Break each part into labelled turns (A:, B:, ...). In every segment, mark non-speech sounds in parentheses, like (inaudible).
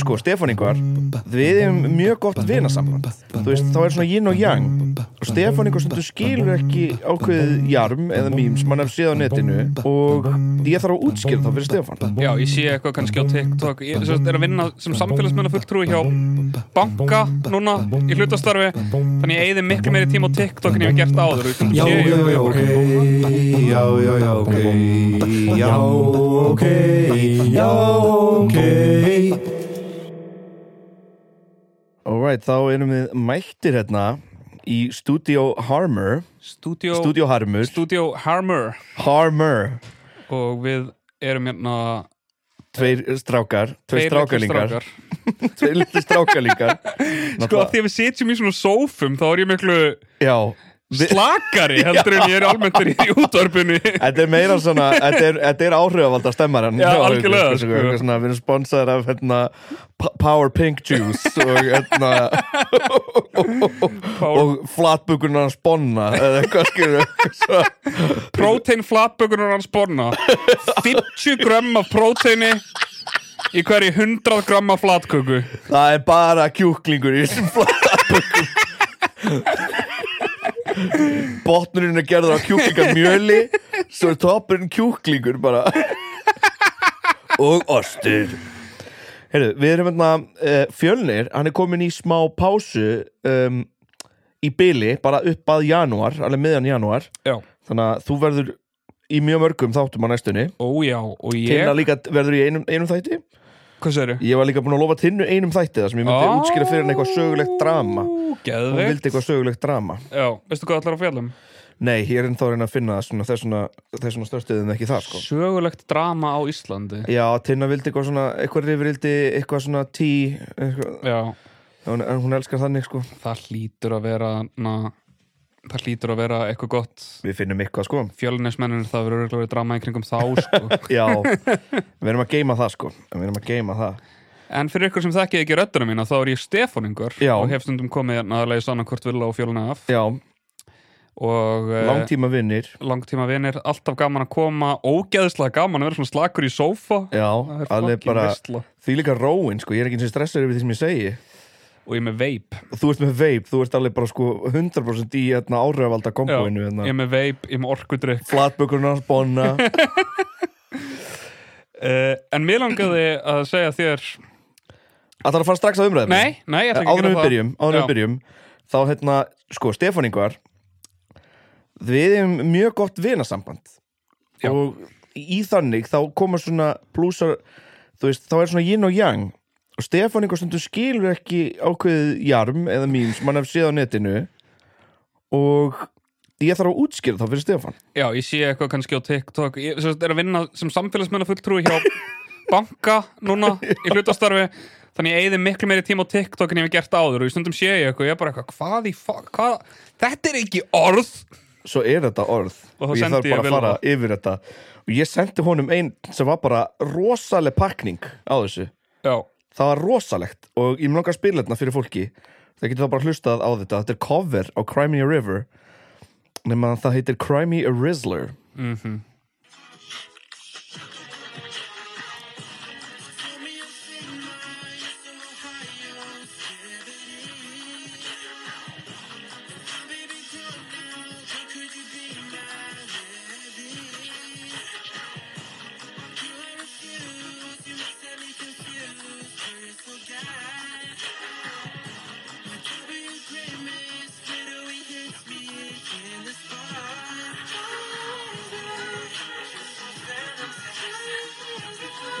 A: sko Stefán Ingvar við erum mjög gott vinasamband þú veist þá er svona yin og yang og Stefán Ingvar sem þú skilur ekki ákveðið jarm eða mým sem hann hef séð á netinu og ég þarf að útskýra það fyrir Stefán
B: Já, ég sé eitthvað kannski á TikTok Ég svo, er að vinna sem samfélagsmennar fulltrúi hjá banka núna í hlutastarfi Þannig ég eigði miklu meiri tíma á TikTok en ég hef gert áður Þú veist,
C: Já, já,
B: ég-
C: já, ok Já, já, já, ok Já, ok Já, ok
A: alright þá erum við mættir hérna í Studio Harmer
B: Studio,
A: Studio Harmur
B: Studio Harmer
A: Harmer
B: Og við erum hérna
A: tveir strákar tveir
B: tveir
A: strákarlingar
B: strákar.
A: tveir litli strákarlingar
B: (laughs) Sko, af því að við sitjum í svona sófum Þá er ég miklu
A: já Vi- (laughs)
B: slakari heldur en ég er almennt í útvarpinu
A: Þetta er meira svona, þetta er, þetta er áhrifavald að stemmar hérna hann
B: Já, algjörlega, sko.
A: svona, Við erum sponsaður af hérna, P- Power Pink Juice og,
B: (laughs)
A: hérna, og flatbökunar sponna eða eitthvað
B: (laughs)
A: skilur
B: Protein flatbökunar hans borna 50 grömm af proteini Í hverju 100 grömm af flatköku
A: Það er bara kjúklingur í þessum flatbökum Botnurinn er gerður á kjúklingamjöli Svo er toppurinn kjúklingur bara Og ostur Heyrðu, við erum hérna uh, Fjölnir, hann er komin í smá pásu um, Í byli Bara upp að janúar, alveg miðjan janúar
B: Já,
A: Þannig að þú verður í mjög mörgum þáttum á næstunni
B: ójá, og ég
A: Tinna líka verður í einum, einum þætti
B: Hvað sér
A: Ég var líka búinn að lofa tinnu einum þætti þar sem ég
B: Ah.
A: myndi útskýra fyrir hann eitthvað sögulegt drama Hún vildi
B: Geðveikt
A: eitthvað sögulegt drama
B: Já, veistu hvað allar að um? fjallum?
A: Nei, ég er ennþá að reyna að finna það svona, þessuna, þessuna störstuðum ekki það sko
B: Sögulegt drama á Íslandi
A: Já, Tinna vildi eitthvað svona, eitthvað rifrildi, eitthvað svona tí eitthvað,
B: Já,
A: hún, hún elskar þannig sko
B: það hlýtur að vera na, Það hlýtur að vera eitthvað gott
A: Við finnum eitthvað sko
B: Fjölunismennir það verður örugglega verið drama í kringum þá
A: (laughs)
B: sko.
A: Já,
B: (laughs)
A: við erum að geima það sko Við erum að geima það
B: En fyrir ykkur sem þekkið ekki rödduna mína þá er ég Stefáningur
A: Já.
B: og hef stundum komið hérna að leiði sannan hvort vilja og fjöluna af
A: Já,
B: og eh,
A: langtíma vinnir
B: langtíma vinir, alltaf gaman að koma ógeðslega gaman að vera svona slakur í sófa
A: Já,
B: Það er
A: alveg
B: fucking
A: bara
B: veisla.
A: Því líka róin sko, ég er ekki eins og stressar yfir því sem ég segi
B: og ég er með veip
A: Þú ert með veip, þú ert alveg bara sko 100% í hérna, áhrifalda komboinu hérna.
B: ég er með veip, ég er með orkudrykk
A: flatbökurnar sponna
B: (laughs) uh, en mér langaði að segja þér
A: Ætlar að fara strax að umræðum
B: nei, nei, ég ætla ekki að
A: Áður en
B: gera
A: við
B: það
A: byrjum, áður en
B: Já.
A: við byrjum Þá hérna, sko, Stefán Ingvar Við erum mjög gott vinasamband
B: Já.
A: Og í þannig þá koma svona blúsar Þú veist, þá er svona yin og yang Og Stefán Ingvar stundu skilur ekki ákveðið jarm eða mím sem hann hef séð á netinu Og ég þarf að útskýra þá fyrir Stefán
B: já, ég sé eitthvað kannski á TikTok ég sem sagt, er að vinna sem samfélagsmennar fulltrúi
A: (laughs)
B: hjá banka núna í hlutastarfi þannig ég eigði miklu meiri tíma á TikTok en ég hef gert áður og í stundum sé ég eitthvað, ég er bara eitthvað hvað í fa, hvað, þetta er ekki orð
A: svo er þetta orð
B: Og þá
A: og, ég
B: sendi
A: þarf bara
B: ég
A: að fara
B: Vilma.
A: yfir þetta og ég sendi honum einn sem var bara rosaleg pakning á þessu
B: já,
A: það var rosalegt og ég mun langar að spila þetta fyrir fólki það getur þá bara hlustað á þetta þetta er cover á Crimea River nema að það heitir Crimea Rizzler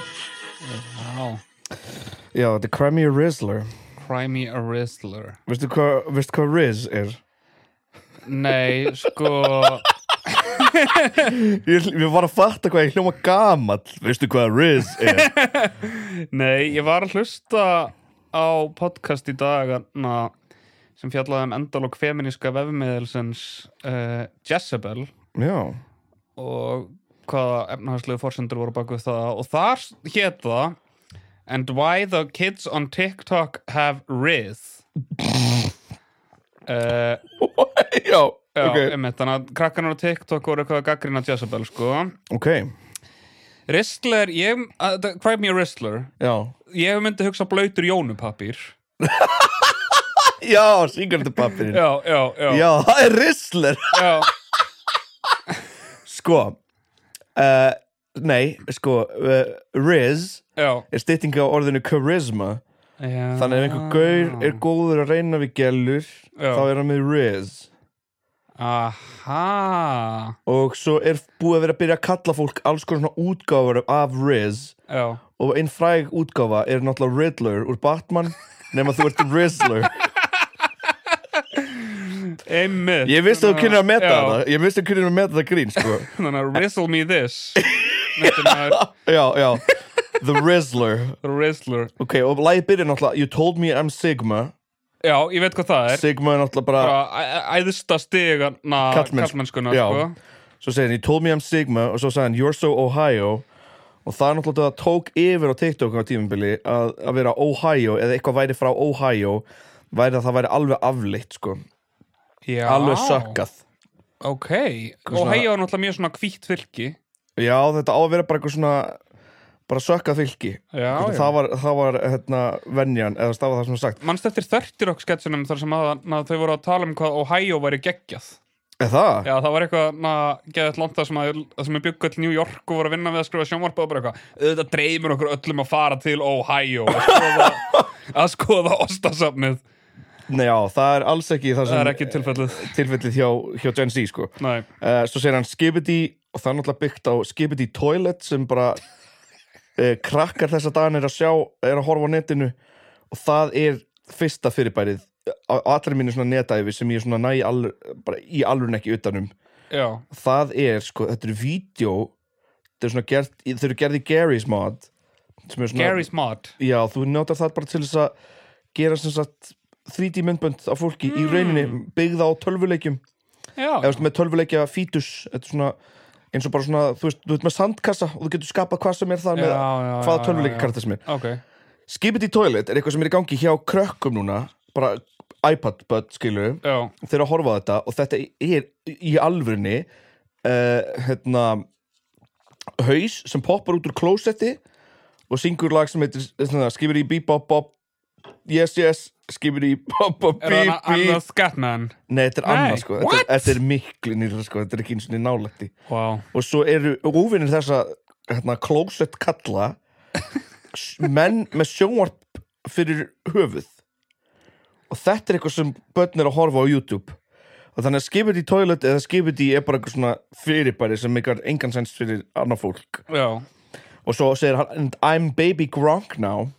B: já
A: já, þetta er Crimea Rizzler
B: Crimey a Rizzler
A: veistu hvað veistu hvað Rizz er?
B: Nei,
A: (laughs)
B: sko
A: Ég, ég var að fatta hvað ég hljóma gamall veistu hvað Rizz (laughs) er?
B: Nei, ég var að hlusta á podcast í dag na, sem fjallaði um endalok feminíska vefmiðilsins uh, Jezebel
A: já,
B: og hvaða efnahagslegu forsendur voru baku það og þar hét það And why the kids on TikTok have Riz uh,
A: já,
B: Já,
A: ok
B: einmitt, þannig að krakkanar á TikTok voru eitthvað að gaggrina Jezebel, sko
A: ok,
B: Ristler, ég, uh, Cry Me a Ristler
A: já
B: ég myndi hugsa blöytur jónupapír
A: Já, síkartupappirinn
B: já, já, já,
A: Já, það er risler
B: já.
A: Sko uh, Nei, sko uh, Riz
B: já.
A: er stytting á orðinu charisma
B: Já.
A: Þannig ef einhver gaur er góður að reyna við gælur
B: Ah. Já.
A: Þá er hann með Riz
B: Aha
A: Og svo er búið að vera að byrja að kalla fólk alls konar svona útgáfur af Riz
B: Já,
A: Og einn fræg útgáfa er náttúrulega Riddler úr Batman
B: (laughs)
A: Nefn að þú ert Rizzler
B: einmitt
A: Ég vissi að þú kynir að meta
B: Já.
A: þetta Ég vissi að þú kynir að meta þetta grín sko.
B: Þannig að rizzle me this Þetta er
A: Já, já The Rizzler
B: rizzler
A: Ok, og lagið byrja náttúrulega You told me I'm Sigma
B: Já, ég veit hvað það er
A: Sigma er náttúrulega bara
B: Bara æ- æ- Æðsta stigana
A: Kallmenns-
B: kallmennskunar
A: Já.
B: sko.
A: Svo segir hann, you told me I'm Sigma Og svo sagði hann, you're so Ohio Og það er náttúrulega það tók yfir á TikTok á tímabili að, að vera Ohio Eða eitthvað væri frá Ohio Væri að það væri alveg afleitt, sko
B: Já.
A: Alveg sökkað
B: Ok, og
A: svona-
B: hei á náttúrulega mjög svona hvítt fylki
A: Já, þetta á að vera bara eitthvað svona Bara sökkað fylki
B: Já,
A: Hvernig
B: já.
A: Það var, það var hérna, venjan Eða það var það sem var sagt
B: Manst eftir 30 rock sketsunum þar sem að, að þau voru að tala um hvað Ohio væri geggjað
A: Eða það?
B: Já, það var eitthvað na, geðið landa sem að það sem er byggu all New York og voru að vinna við að skrifa sjónvarp og bara eitthvað auðvitað dreymir okkur öllum að fara til Ohio að
A: (laughs)
B: skoða, að skoða ostasafnið
A: Nei, já, það er alls ekki það sem
B: Það er ekki tilfellið
A: tilfellið hjá, hjá Gen Z, sko
B: Nei,
A: uh, svo segir hann Skibidi og það er náttúrulega byggt á Skibidi Toilet sem bara
B: (laughs)
A: uh, krakkar þess að dagan er að sjá er að horfa á netinu og það er fyrsta fyrirbærið á á allri mínu svona netæfi sem ég svona næ alveg, bara í alveg ekki utanum
B: já,
A: það er sko, þetta er vídeo þetta er svona gert, þau eru gerði Gary's mod sem er svona,
B: Gary's Mod
A: já þú notar það bara til þess að gera sem sagt 3D myndbönd af fólki
B: Mm.
A: í rauninni byggða á tölvuleikjum
B: Já,
A: eða þú veist, með tölvuleikja fítus þetta er svona, eins og bara svona þú veist, þú veist með sandkassa og þú getur skapað hvað sem er þar með
B: Já, já, já,
A: hvaða
B: já,
A: tölvuleikja
B: já.
A: karta sem er
B: ok
A: Skipit í toilet er eitthvað sem er í gangi hjá krökkum núna bara iPad bud skilur
B: Já,
A: þeir eru að horfa á þetta og þetta er í alvörinni uh, hérna haus sem poppar út úr klósetti og syngur lag sem heitir skipir í bíp bop bop yes yes skipir í bop bop
B: er það
A: bíp bíp
B: annað Scatman?
A: Nei, þetta er
B: Nei,
A: annað sko þetta er,
B: what?
A: þetta er miklu nýra sko, þetta er ekki eins og niður nálætti
B: Wow
A: Og svo eru óvinnir þessa hérna, closet kalla s- menn með sjónvarp fyrir höfuð Og þetta er eitthvað sem börn er að horfa á YouTube Og þannig að skipið í toilet eða skipið í er bara eitthvað svona fyrirbæri sem eitthvað engan sens fyrir annað fólk
B: Já,
A: Og svo segir hann, "And I'm baby Gronk now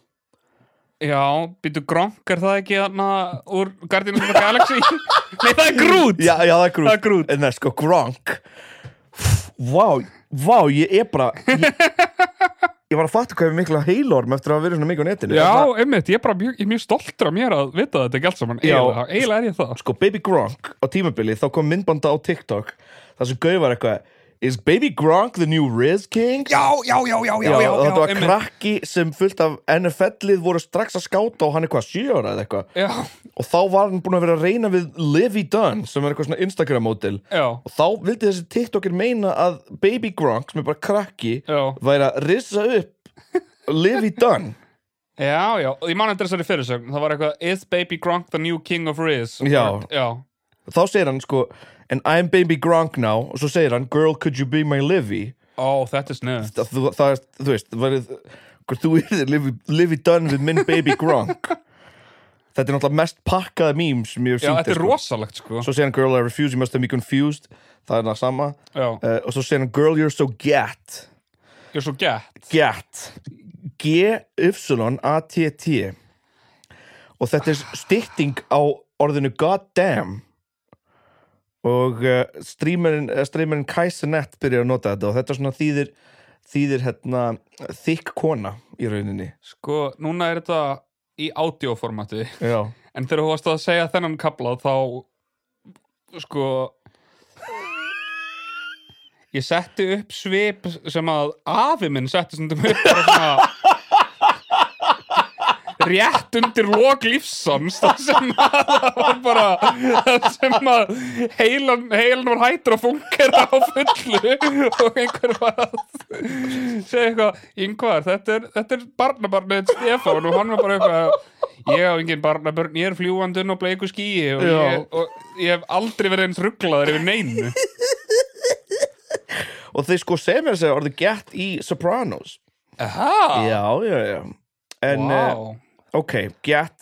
B: já, býtu Gronk er það ekki þarna úr Guardians of the (laughs) Galaxy? Nei, það er Groot
A: Já, já, það er grút,
B: Það er Groot.
A: En það er sko Gronk Vá, vá, ég er bara Ég, ég var að fatta hvað ég er mikla heilorm eftir að hafa verið svona mikið á netinu
B: Já,
A: Það-
B: einmitt, ég er bara mjög, ég er mjög stoltur af mér að vita þetta ekki allt saman
A: Já.
B: eiginlega, eiginlega er ég það
A: Sko, Baby Gronk á tímabili þá kom myndbanda á TikTok þar sem gauð var eitthvað Is Baby Gronk the new Riz King?
B: já, já, já, já, já, já,
A: og þetta var
B: einmitt.
A: krakki sem fullt af NFL-ið voru strax að skáta og hann eitthvað sjö ára eða eitthvað
B: já,
A: og þá var hann búin að vera að reyna við Livy Dunn sem er eitthvað svona Instagram-mótil
B: já,
A: og þá vildi þessi TikToker meina að Baby Gronk sem er bara krakki
B: já,
A: væri að rissa upp Livy Dunn
B: já, já og ég man eftir þessari fyrirsögn, það var eitthvað Is baby Gronk the new king of Riz?
A: Já.
B: já,
A: þá segir hann sko and I'm Baby Gronk now og svo segir hann girl could you be my Livy
B: ó, þetta er snöð
A: það, þú- það er, þú veist, það væri hvort þú yrðir Livy, Livy Dunn við minn Baby Gronk þetta er náttúrulega mest pakkaða mím sem ég hef
B: Já,
A: sýnt
B: þetta er rosalegt, sko
A: svo segir hann girl I refuse you must have me confused það er það sama
B: Já,
A: uh, og svo segir hann girl you're so gat
B: ég er svo gett
A: Get G-Y-A-T-T Og þetta er stytting á orðinu goddamn Og uh, streamerinn, eh, streamerinn Kaisenet byrjar að nota þetta Og þetta svona þýðir, þýðir hérna, þykk kona í rauninni
B: Sko, núna er þetta í audioformati
A: Já
B: En þegar þú varst að segja þennan kapla þá sko ég setti upp svip sem að afi minn setti stundum upp bara svona rétt undir lok lífsans það sem að það var bara það sem að heilan, heilan var hættur að fungera á fullu og einhver var að segja eitthvað, yngvar þetta er, þetta er barnabarnið Stefán og hann var bara eitthvað ég á engin barnabörn, ég er fljúandun og bleiku skýi og ég, og ég hef aldrei verið eins rugglaður yfir neinu
A: og þeir sko sem er að segja orðið gett í Sopranos
B: Aha,
A: já, já, já en eh, wow.
B: wow
A: ok, gett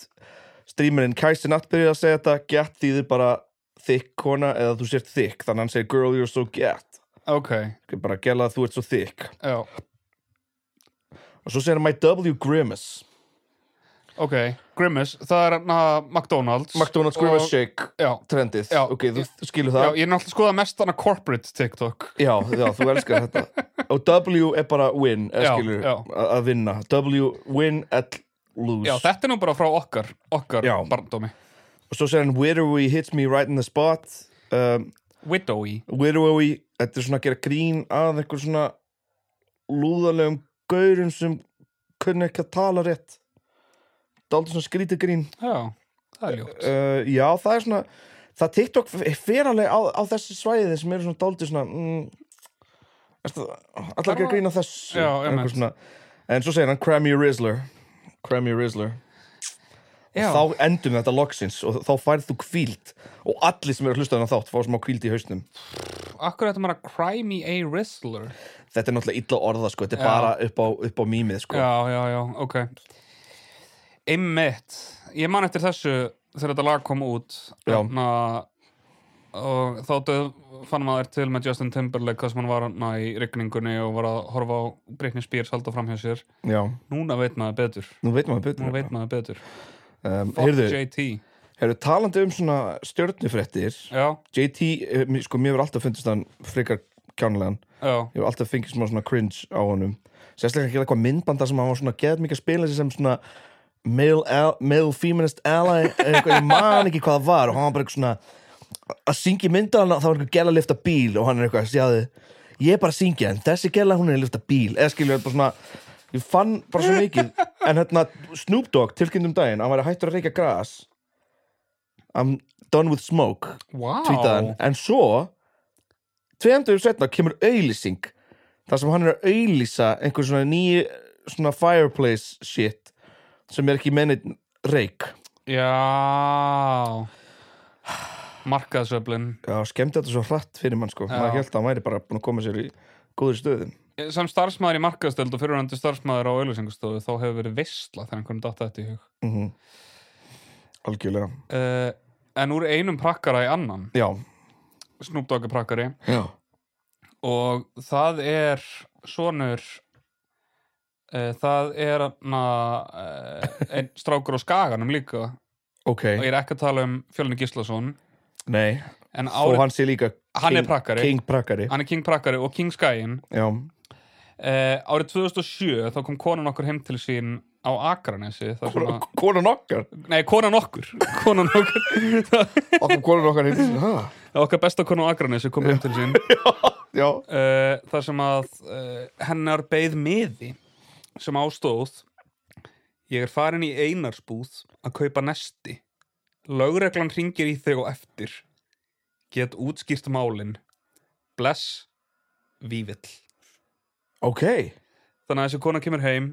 A: streamerinn Kæsi Natt byrjaði að segja þetta gett þýðir bara þykk kona eða þú sért þykk, þannig að hann segir girl you're so gett
B: ok,
A: bara gæla að þú ert svo þykk
B: já,
A: og svo segir hann my W grimace
B: ok Grimace, það er na, McDonald's
A: McDonald's
B: Og-
A: grimace shake
B: Já,
A: trendið,
B: Já.
A: ok, þú skilur
B: já,
A: það já,
B: ég er náttúrulega að skoða mest þannig corporate TikTok
A: já, þú elskar
B: (laughs)
A: þetta og W er bara win eða
B: Já,
A: skilur,
B: já.
A: a- að vinna W, win, L, lose
B: Já, þetta er nú bara frá okkar, okkar
A: Já.
B: barndómi
A: og svo segir hann widowy hits me right in the spot um,
B: Widowy
A: widowy, þetta er svona að gera grín að einhver svona lúðalegum gaurum sem kunna ekki að tala rétt dálítið svona skrítið grín
B: Já, það er ljótt
A: uh, já, það er svona það TikTok fer alveg á, á þessi svæði sem eru svona dálítið svona mm, erstu, allar ekki að grína þessu
B: Já,
A: Einhver
B: einmitt.
A: svona, en svo segir hann Crammy Rizzler Crammy Rizzler
B: Já,
A: eh, þá endum við þetta loksins og þá færð þú kvíld og allir sem eru að hlusta þannig þátt fá smá kvíld í hausnum
B: akkur þetta maður að cry me a wrestler
A: þetta er náttúrulega illa orða sko, þetta er
B: Já.
A: bara upp á, upp á mýmið sko.
B: Já, já, já, ok Einmitt Ég man eftir þessu þegar þetta lag kom út
A: Já.
B: þarna, og þá döð, fann maður til með Justin Timberlake þar sem hann var na, í rigningunni og var að horfa á Britney Spears halda fram hjá sér
A: Já.
B: Núna veit maður betur
A: nú veitum við betur
B: Núna veit maður betur
A: um,
B: Fuck
A: heyrðu,
B: JT
A: heyrðu, talandi um svona stjörnufréttir
B: Já,
A: JT, eh, mér- sko mér hefur alltaf fundist hann frekar kjánulegan,
B: já,
A: ég hefur alltaf fengið smá svona cringe á honum, sérstaklega ekki eitthvað myndbanda sem hann var svona geðað mikið að spila sig sem svona male, al, male feminist ally, eitthvað, ég man ekki hvað það var og hann var bara eitthvað svona að syngja í myndana, það var eitthvað gæla að lifta bíl og hann er eitthvað, sjáðu, ég er bara að syngja en þessi gæla hún er að lifta bíl eða skilur bara svona, ég fann bara svo mikið en hérna Snoop Dogg tilkynntum daginn, hann var hættur að reykja gras I'm done with smoke
B: wow
A: tweetaðan en svo tveimdur setna kemur auðlýsing þar sem hann er að auðlýsa einhver svona nýju svona fireplace shit sem er ekki mennit reik
B: Já Markaðsöflin
A: já, skemmti þetta svo hratt fyrir mann sko
B: Já.
A: maður held að hann væri bara búin að koma sér í góður stöðum
B: Sem starfsmæður í markaðstöld og fyrirhandi starfsmæður á auðlýsingustofu þá hefur verið veistla þegar einhvern datta þetta í hug
A: mm algjörlega
B: uh, En úr einum prakkara í annan
A: já,
B: Snoop Dogg er prakkari
A: já,
B: og það er sonur uh, það er na, uh, einn strákur á skaganum líka
A: ok
B: og ég er ekki að tala um Fjölni Gíslason
A: nei,
B: en
A: og
B: árið, hann,
A: hann sé líka
B: er prakkari
A: king prakkari
B: hann er King prakkari og King Skyin
A: já,
B: Uh, árið 2007 þá kom konan okkur heim til sín á Akranesi þar sem að,
A: konan (laughs) okkar
B: nei konan okkur (laughs) konan okkur,
A: okkur konan okkar heim Ha?
B: okkar besta konan á Akranesi kom heim til sín
A: já,
B: uh, þar sem að uh, hennar beið miði sem ástóð ég er farin í einarsbúð að kaupa nesti lögreglan ringir í þig og eftir get útskýrt málin bless vívill
A: ok
B: þannig að þessi kona kemur heim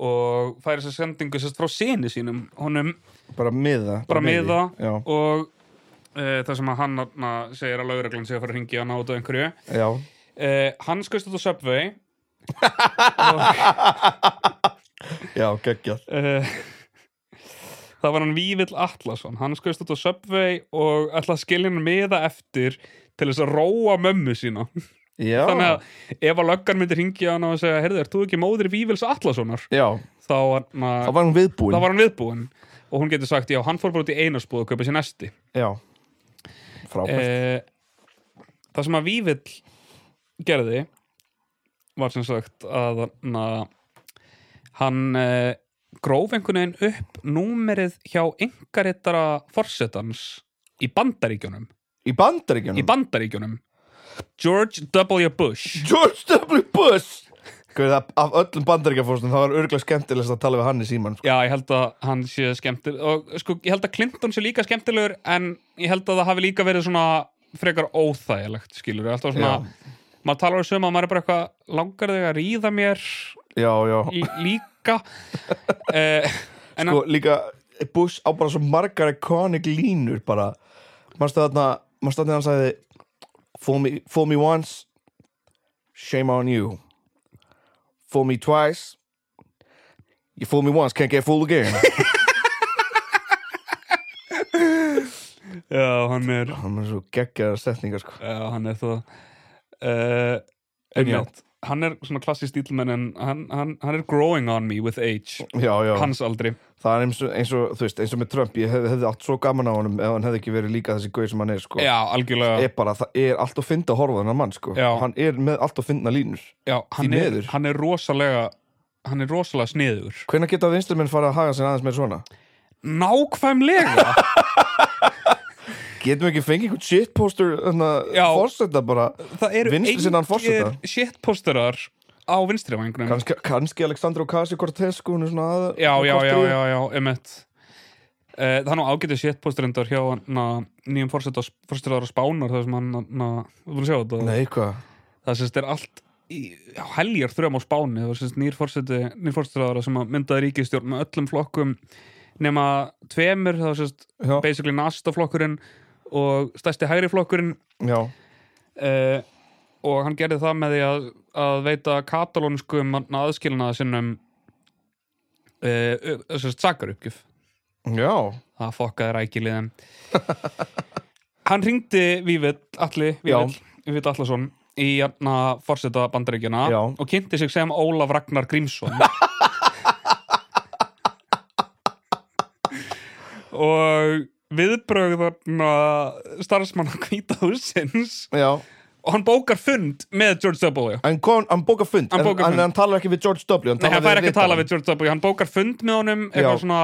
B: og færi sér sendingu sérst frá sinni sínum honum
A: bara miða
B: bara
A: miði.
B: miða
A: já,
B: og e, það sem að hann na, segir að lauraglann sé að fara að ringja hann át á einhverju
A: já,
B: e, hann skust út á Subway
A: já, geggjað
B: e, (laughs) það var hann Vívill Atlasson hann skust út á Subway og ætla að skilja hann miða eftir til þess að róa mömmu sína
A: Já,
B: þannig að ef að löggan myndi ringja hann og segja, heyrðu, ert þú ekki móðir Vívills Atlassonar
A: já,
B: þá var, na,
A: það var hún viðbúin
B: þá var hann viðbúin og hún getur sagt, já, hann fór bara út í einarsbúð og kaupa sér nesti
A: Já, frábært
B: eh, það sem að Vívill gerði var sem sagt að na, hann eh, gróf einhvern veginn upp númerið hjá yngarittara forsetans í bandaríkjunum
A: Í bandaríkjunum
B: í bandaríkjunum George W. Bush
A: George W. Bush Guð, af- af öllum bandaríkjafórstum það var örgulega skemmtilegast að tala við hann í síman sko.
B: Já, ég held að hann sé skemmtileg og sko, ég held að Clinton sé líka skemmtilegur en ég held að það hafi líka verið svona frekar óþægilegt, skilur við alltaf svona, maður talar um sömu að maður er bara eitthvað langar þig að ríða mér
A: já, já,
B: í, líka (laughs) eh, en
A: sko, líka Bush á bara svo margar iconic línur bara, maður stöði þarna maður stöði hann sagði fool me, fool me once shame on you fool me twice you fool me once, can't get fooled again
B: hann já, hann er,
A: hann er svo geggjaðar setningar sko.
B: já, hann er það eh,
A: En já.
B: einmitt, hann er svona klassist stílmenn en hann, hann, hann er growing on me with age
A: já, já,
B: hans aldrei
A: það er eins og, eins og þú veist, eins og með Trump ég hef, hefði allt svo gaman á honum ef hann hefði ekki verið líka þessi gauð sem hann er sko.
B: já, algjörlega,
A: er bara, það er allt að finna að horfa þennan mann sko.
B: Já.
A: hann er með allt að finna línur
B: já, hann,
A: því
B: er,
A: miður.
B: hann er rosalega hann er rosalega sniður
A: hvenær geta vinstumenn fara að haga sér aðeins með svona
B: Nákvæmlega
A: getum við ekki fengið einhvern shitposter
B: Já.
A: fórseta bara
B: Það eru
A: Vinstri sinna hann forseta.
B: shitposterar á vinstri vangunum
A: kannski, kannski Alexandra Ocasio-Cortez sko, hún er svona aða
B: Já, já, já, já, já, emmett Uh, það er nú ágætið shitposterendar hjá na, nýjum fórsetar á spánar þar sem hann, na, þú vil sjá þetta
A: nei, hvað
B: það sést er allt í, á heljar þrjum á spáni það sést nýr fórseti, nýr fórsetar sem að myndaði ríkistjórn með öllum flokkum nema tveimur það sést
A: Já.
B: basically nastaflokkurinn og stærsti hægri flokkurinn
A: já,
B: uh, og hann gerði það með því að, að veita katalónskum aðskilnaða sinnum uh, þessast sakaruppgjöf
A: já,
B: það fokkaði rækiliðan hann ringdi Vívill Alli, Vívill, Vívill Allason í jæna forseta bandaríkjana
A: Já.
B: og kynnti sig sem Ólaf Ragnar Grímsson og viðbrögð þarna starfsmann á hvíta húsins
A: já
B: og hann bókar fund með George W
A: hann, kom, hann bóka fund,
B: Hann bókar
A: en,
B: fund.
A: en hann talar ekki við George W hann
B: Nei, hann fær ekki að tala
A: ritarann.
B: við George W hann bókar fund með honum
A: Já.
B: eitthvað svona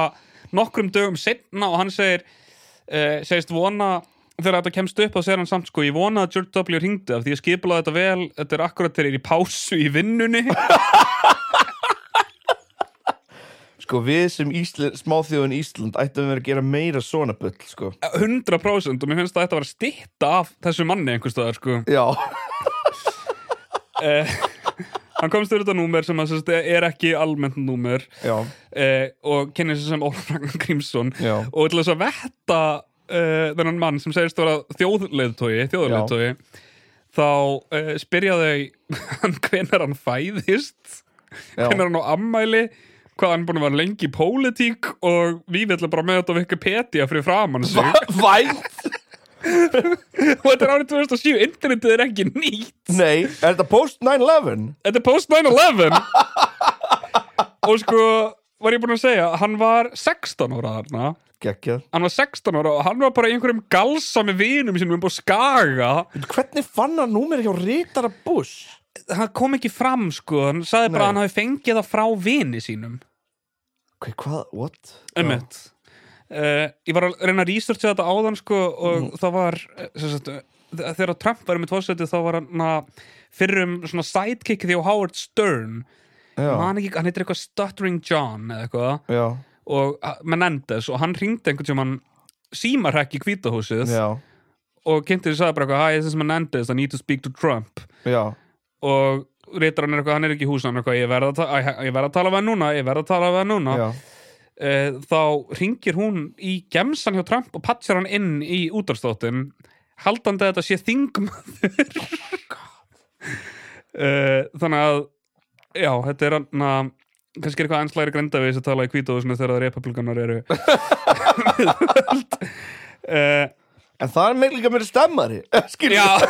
B: nokkrum dögum setna og hann segir uh, segist vona þegar þetta kemst upp og segir hann samt sko ég vona að George W ringdi af því ég skiplaði þetta vel þetta er akkurat þegar ég er í pásu í vinnunni (laughs)
A: sko, við sem Ísli, smáþjóðin Ísland ættum við að gera meira svona bull sko.
B: 100% og mér finnst að þetta var að stitta af þessu manni einhverstaðar sko
A: já,
B: uh, (laughs) hann komst yfir þetta númer sem að, sérst, er ekki almennt númer
A: já,
B: uh, og kynni sig sem Ólaf Ragnar Grímsson
A: Já.
B: og til þess að vetta uh, þennan mann sem segist vera þjóðleiðtogi þjóðleiðtogi þá uh, spyrja þau (laughs) hann hvenar hann fæðist
A: já.
B: hvenar hann á ammæli hvað hann er búin að vera lengi í pólitík og við ætlum bara með þetta á Wikipedia fyrir framann sig
A: (laughs) vænt
B: og þetta er árið 2007, internetið er ekki nýtt
A: Nei, er þetta post 9-11?
B: Þetta er post
A: (laughs)
B: 9-11 Og sko var ég búinn að segja, hann var 16 ára þarna
A: Gekkjað
B: Hann var 16 ára og hann var bara í einhverjum galsa með vinum sínum um búið skaga
A: Hvernig fann hann númer hjá Rítara Bush?
B: Hann kom ekki fram sko, hann sagði bara
A: Nei.
B: að hann hafi fengið það frá vini sínum
A: Hva, hvað, what?
B: Ömmett uh, Ég var að reyna að researcha þetta áðan sko og
A: Mm.
B: það var eh, sem sagt, eh, þegar Trump var með tvoðsæti þá var hann að fyrrum svona sidekick því á Howard Stern
A: Já,
B: Man ekki, hann heitir eitthvað Stuttering John eða eitthvað
A: já,
B: og eh, Menendez og hann ringdi einhvern tímann símarhekk í kvítahúsið
A: já,
B: og kynnti þess að bara eitthvað, hi, this is Menendez, I need to speak to Trump
A: já
B: og reytar hann eitthvað, hann er ekki í hús hann er eitthvað, ég verð að, ta æ, ég verð að tala við hann núna ég verð að tala við hann núna
A: Já,
B: Eh, þá ringir hún í gemsan hjá Trump og patsir hann inn í útarstóttin haldandi að þetta sé þingmaður (laughs) uh, þannig að já, þetta er hann að kannski er eitthvað einslæri grinda við þess að tala í kvítahúsinu þegar það republikanar eru (laughs) uh,
A: en það er með líka meira stemmari (laughs) Skilur,
B: já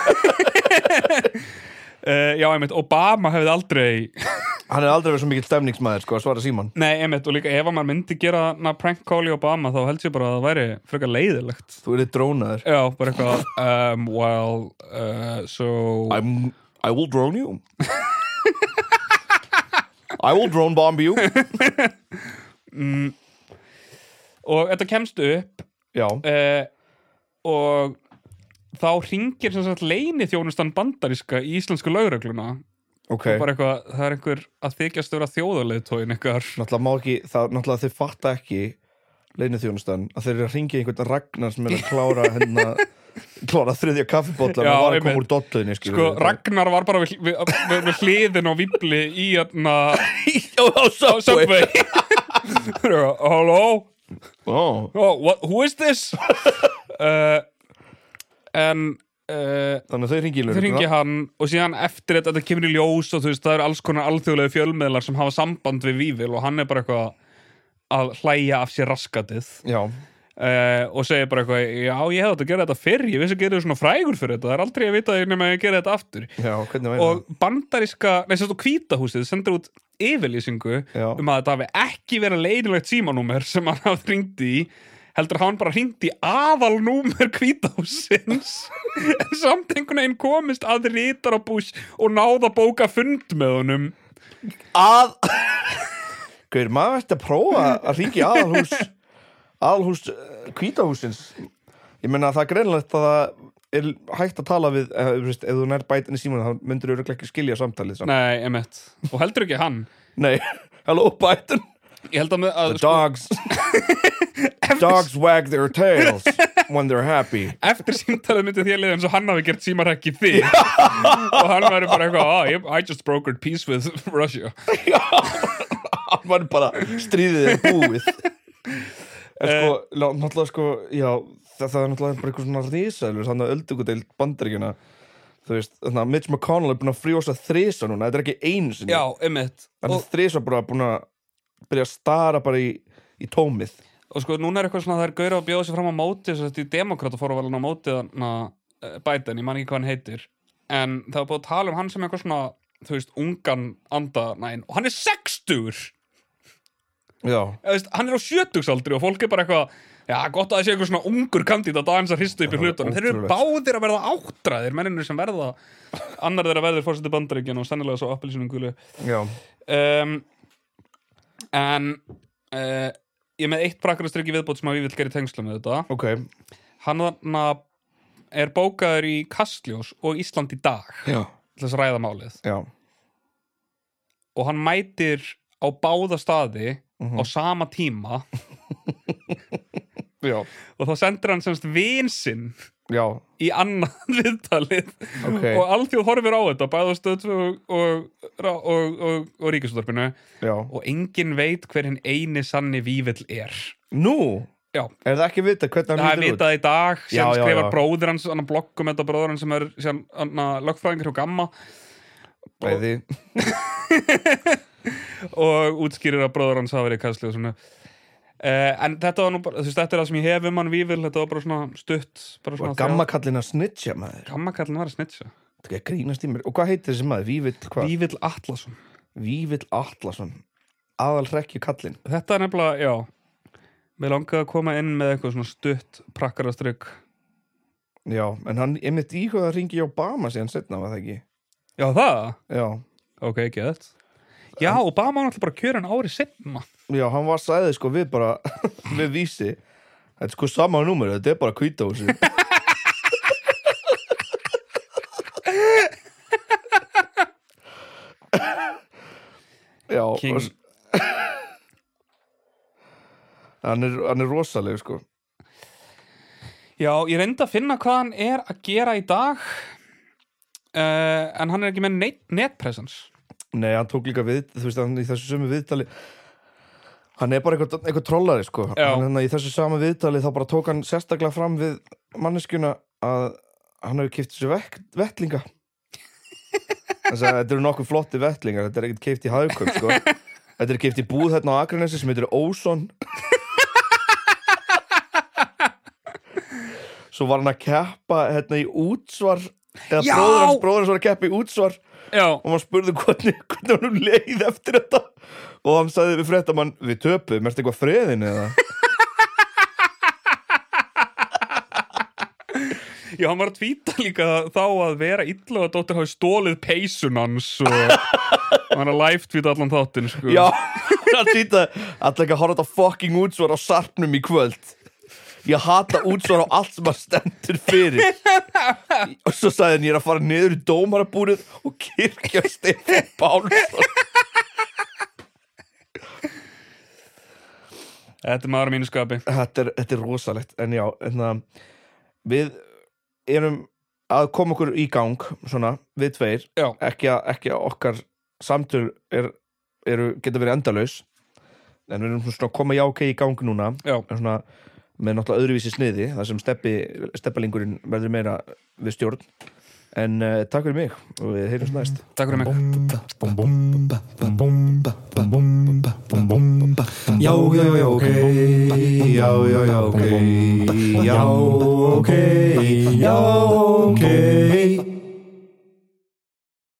B: (laughs) uh, já, einmitt, Obama hefði aldrei
A: hann er aldrei verið svo mikill stemningsmaður sko að svara síman
B: nei, einmitt, og líka ef að maður myndi gera na, prank call í Obama þá held ég bara að það væri frekar leiðilegt
A: Þú erið drónaður
B: Já, bara eitthvað um, Well, uh, so
A: I'm, I will drone
B: (laughs)
A: you (laughs) I will drone bomb
B: (laughs)
A: you
B: Og þetta kemst upp
A: Já,
B: uh, Og þá hringir sem sagt leyni þjónustan bandaríska í íslensku lögregluna
A: ok
B: bara eitthvað, það er einhver að þykjast vera þjóðarleiðtóin eitthvað
A: náttúrulega má ekki, það, náttúrulega þeir fatta ekki leinu þjónustan, að þeir eru að ringja einhvern Ragnar sem er að klára hérna,
B: (laughs)
A: klára þriðja kaffibólla og var
B: Já,
A: að
B: einmitt.
A: koma úr dolluðinni
B: Sko, (laughs) Ragnar var bara við, við, við, við hliðin á vibli í aðna
A: á Subway
B: Subway (laughs) Hello
A: Ó.
B: oh, what, Who is this? (laughs) uh, en uh,
A: þannig að þeir ringi í
B: þau ringi
A: lögregluna
B: hann og síðan eftir þetta, þetta kemur í ljós og þú veist, það eru alls konar alþjóðlega fjölmiðlar sem hafa samband við Vífil og hann er bara eitthvað að hlæja af sér raskatið
A: já,
B: uh, og segir bara eitthvað já, ég hefði átt að gera þetta fyrr, ég vissi að gera þetta svona frægur fyrir þetta, það er aldrei að vita nema að ég gera þetta aftur
A: já, hvernig væri
B: og bandaríska, nei, sérst og hvítahúsið sendur út yfirlýsingu
A: Já.
B: um að þetta hafi ekki verið leynilegt símanúmer sem hann hafði ringt í heldur hafa hann bara ringt í aðalnúmer hvítahúsins (laughs) en samt einhvern veginn komist að rítarabús og náða bóka fund með honum
A: það að (laughs) hver, maður ætti að prófa að ringi aðalhús aðalhús eh, hvítahúsins ég meina það er greinlegt að það er hægt að tala við eh, þú veist, ef þú nær bætin í síman þá myndur þú ekki skilja samtalið samt.
B: nei, emett, og heldur ekki hann
A: nei, (laughs) hello bætin
B: ég held að, með- að sko,
A: The dogs (laughs) Dogs wag their tails when they're (laughs) happy
B: eftir símtalið myndi þér liða eins og hann hafi gert símarhekki þig
A: (laughs)
B: og hann væri bara eitthvað oh, yep, I just brokered peace with Russia
A: Það var bara stríðið er búið En sko, lá- náttúrulega sko Já, það, það er náttúrulega bara einhver svona risaðilur Þannig að öldugudeild bandaríkjana Þú veist, þannig að Mitch McConnell er búin að frjósa þrisa núna Þetta er ekki einu sinni
B: já, einmitt
A: Hann er
B: og,
A: þrisa bara búin að byrja að stara bara í, í tómið
B: og sko núna er eitthvað svona það er gaur að bjóða sér fram á móti þess að þetta í demokrata fóru vel á móti na, Biden, ég man ekki hvað hann heitir en það var búið að tala um hann sem eitthvað svona þú veist, ungan andanæn og hann er sextur
A: Já,
B: veist, hann er á sjötugsaldri og fólk er bara eitthvað já, gott að það sé eitthvað svona ungur kandidat aðeins að hristu upp í
A: Já,
B: hlutunum þeir eru
A: ótrúlegt.
B: báðir að verða áttræðir menninu sem verða annar þeirra verður fórsetið bandaríkjan og sennilega svo appelsinum gulu
A: já,
B: um, en uh, ég er með eitt brakarastryggi viðbót sem að við vil gera í tengsla með þetta
A: ok
B: hann þarna er bókaður í Kastljós og Ísland í dag
A: Já,
B: til þess að ræða málið
A: já,
B: og hann mætir á báða staði
A: Mhm.
B: á sama tíma
A: já,
B: og þá sendir hann semst vinsinn
A: já
B: í annað (laughs) viðtalið
A: Ok.
B: og alltjóð horfir á þetta bæða stöð og, og, og, og, og ríkisúttarpinu
A: Já.
B: og enginn veit hver hinn eini sanni vívill er
A: Nú,
B: Já,
A: er það ekki vitað hvernig
B: það
A: hann
B: er
A: lítur út?
B: vitað í dag sem
A: Já, já,
B: skrifar
A: já.
B: bróður hans, hann blogg um þetta bróður hans sem er sem, hann, lögfræðingur hjá Gamma
A: Bæði,
B: og útskýrir að bróður hans hafa verið í kastli og svona Uh, en þetta var nú bara, þú veist, þetta er það sem ég hef um hann vívill, þetta var bara svona stutt bara svona
A: var gamma kallin að snitja maður
B: gamma kallin var að snitsa
A: Þetta er grínast í mér. Og hvað heitir þessi maður? Vívill hvað?
B: Vívill Atlason
A: Vívill Atlason. Aðal hrekju kallinn.
B: Þetta er nefnilega, já Mér langaði að koma inn með eitthvað svona stutt prakkarastrygg
A: Já, en hann einmitt íhugaði að ringi í Obama síðan setna, var það ekki?
B: Já, það?
A: Já.
B: Ok, ekki þetta Já, Obama var náttúrulega bara kjörin ári sinna
A: Já, hann var sæðið sko við bara, (laughs) við vísi. Þetta er sko sama númer, þetta er bara kvítahúsi.
B: (laughs)
A: Já,
B: King.
A: og s- hann er, hann er rosaleg sko.
B: Já, ég reyndi að finna hvað hann er að gera í dag uh, En hann er ekki með net netpresence
A: Nei, hann tók líka við, þú veist, hann í þessu sömu viðtali Hann er bara eitthvað, eitthvað trollari, sko
B: Já.
A: Hann hérna í þessu sama viðtali þá bara tók hann sérstaklega fram við manneskjuna að hann hefur kipt þessu vek, vettlinga Þannig að þetta eru nokkuð flotti vettlingar Þetta er ekkert kipt í hagkaup, sko Þetta er kipt í búð hérna á Akranesi sem heitir Óson Svo var hann að keppa hérna í útsvar eða
B: Já!
A: bróður hans, bróður hans var að keppa í útsvar
B: Já,
A: og maður spurði hvernig, hvernig hann leið eftir þetta og hann sagði við fréttamann við töpuðum, ertu eitthvað friðin eða
B: já, hann var að tvíta líka þá að vera illa að dóttir hafi stólið peysun hans og (laughs) og hann er að live-tvíta allan þáttinn sko.
A: (laughs) já, hann týtaði alltaf ekki að horfa þetta fucking útsvar á sarpnum í kvöld Ég hata útsvar á allt sem að stendur fyrir Og svo sagði hann ég er að fara niður í dómarabúrið Og kirkja Stefán Pálsson
B: Þetta er maður á mínu skapi
A: þetta er, þetta er rosalegt En já, en Við erum að koma okkur í gang Svona, við tveir
B: Já,
A: Ekki að, ekki að okkar samtöl er, eru, geta verið endalaus En við erum svona að koma jákei í gang núna
B: já,
A: en svona, með náttúrulega öðruvísi sniði þar sem steppi, steppalingurinn verður meira við stjórn en uh, takk fyrir mig og við heyrjumst næst
B: takk fyrir mig
C: Já, já, já, ok Já, já, já, ok Já, ok Já, ok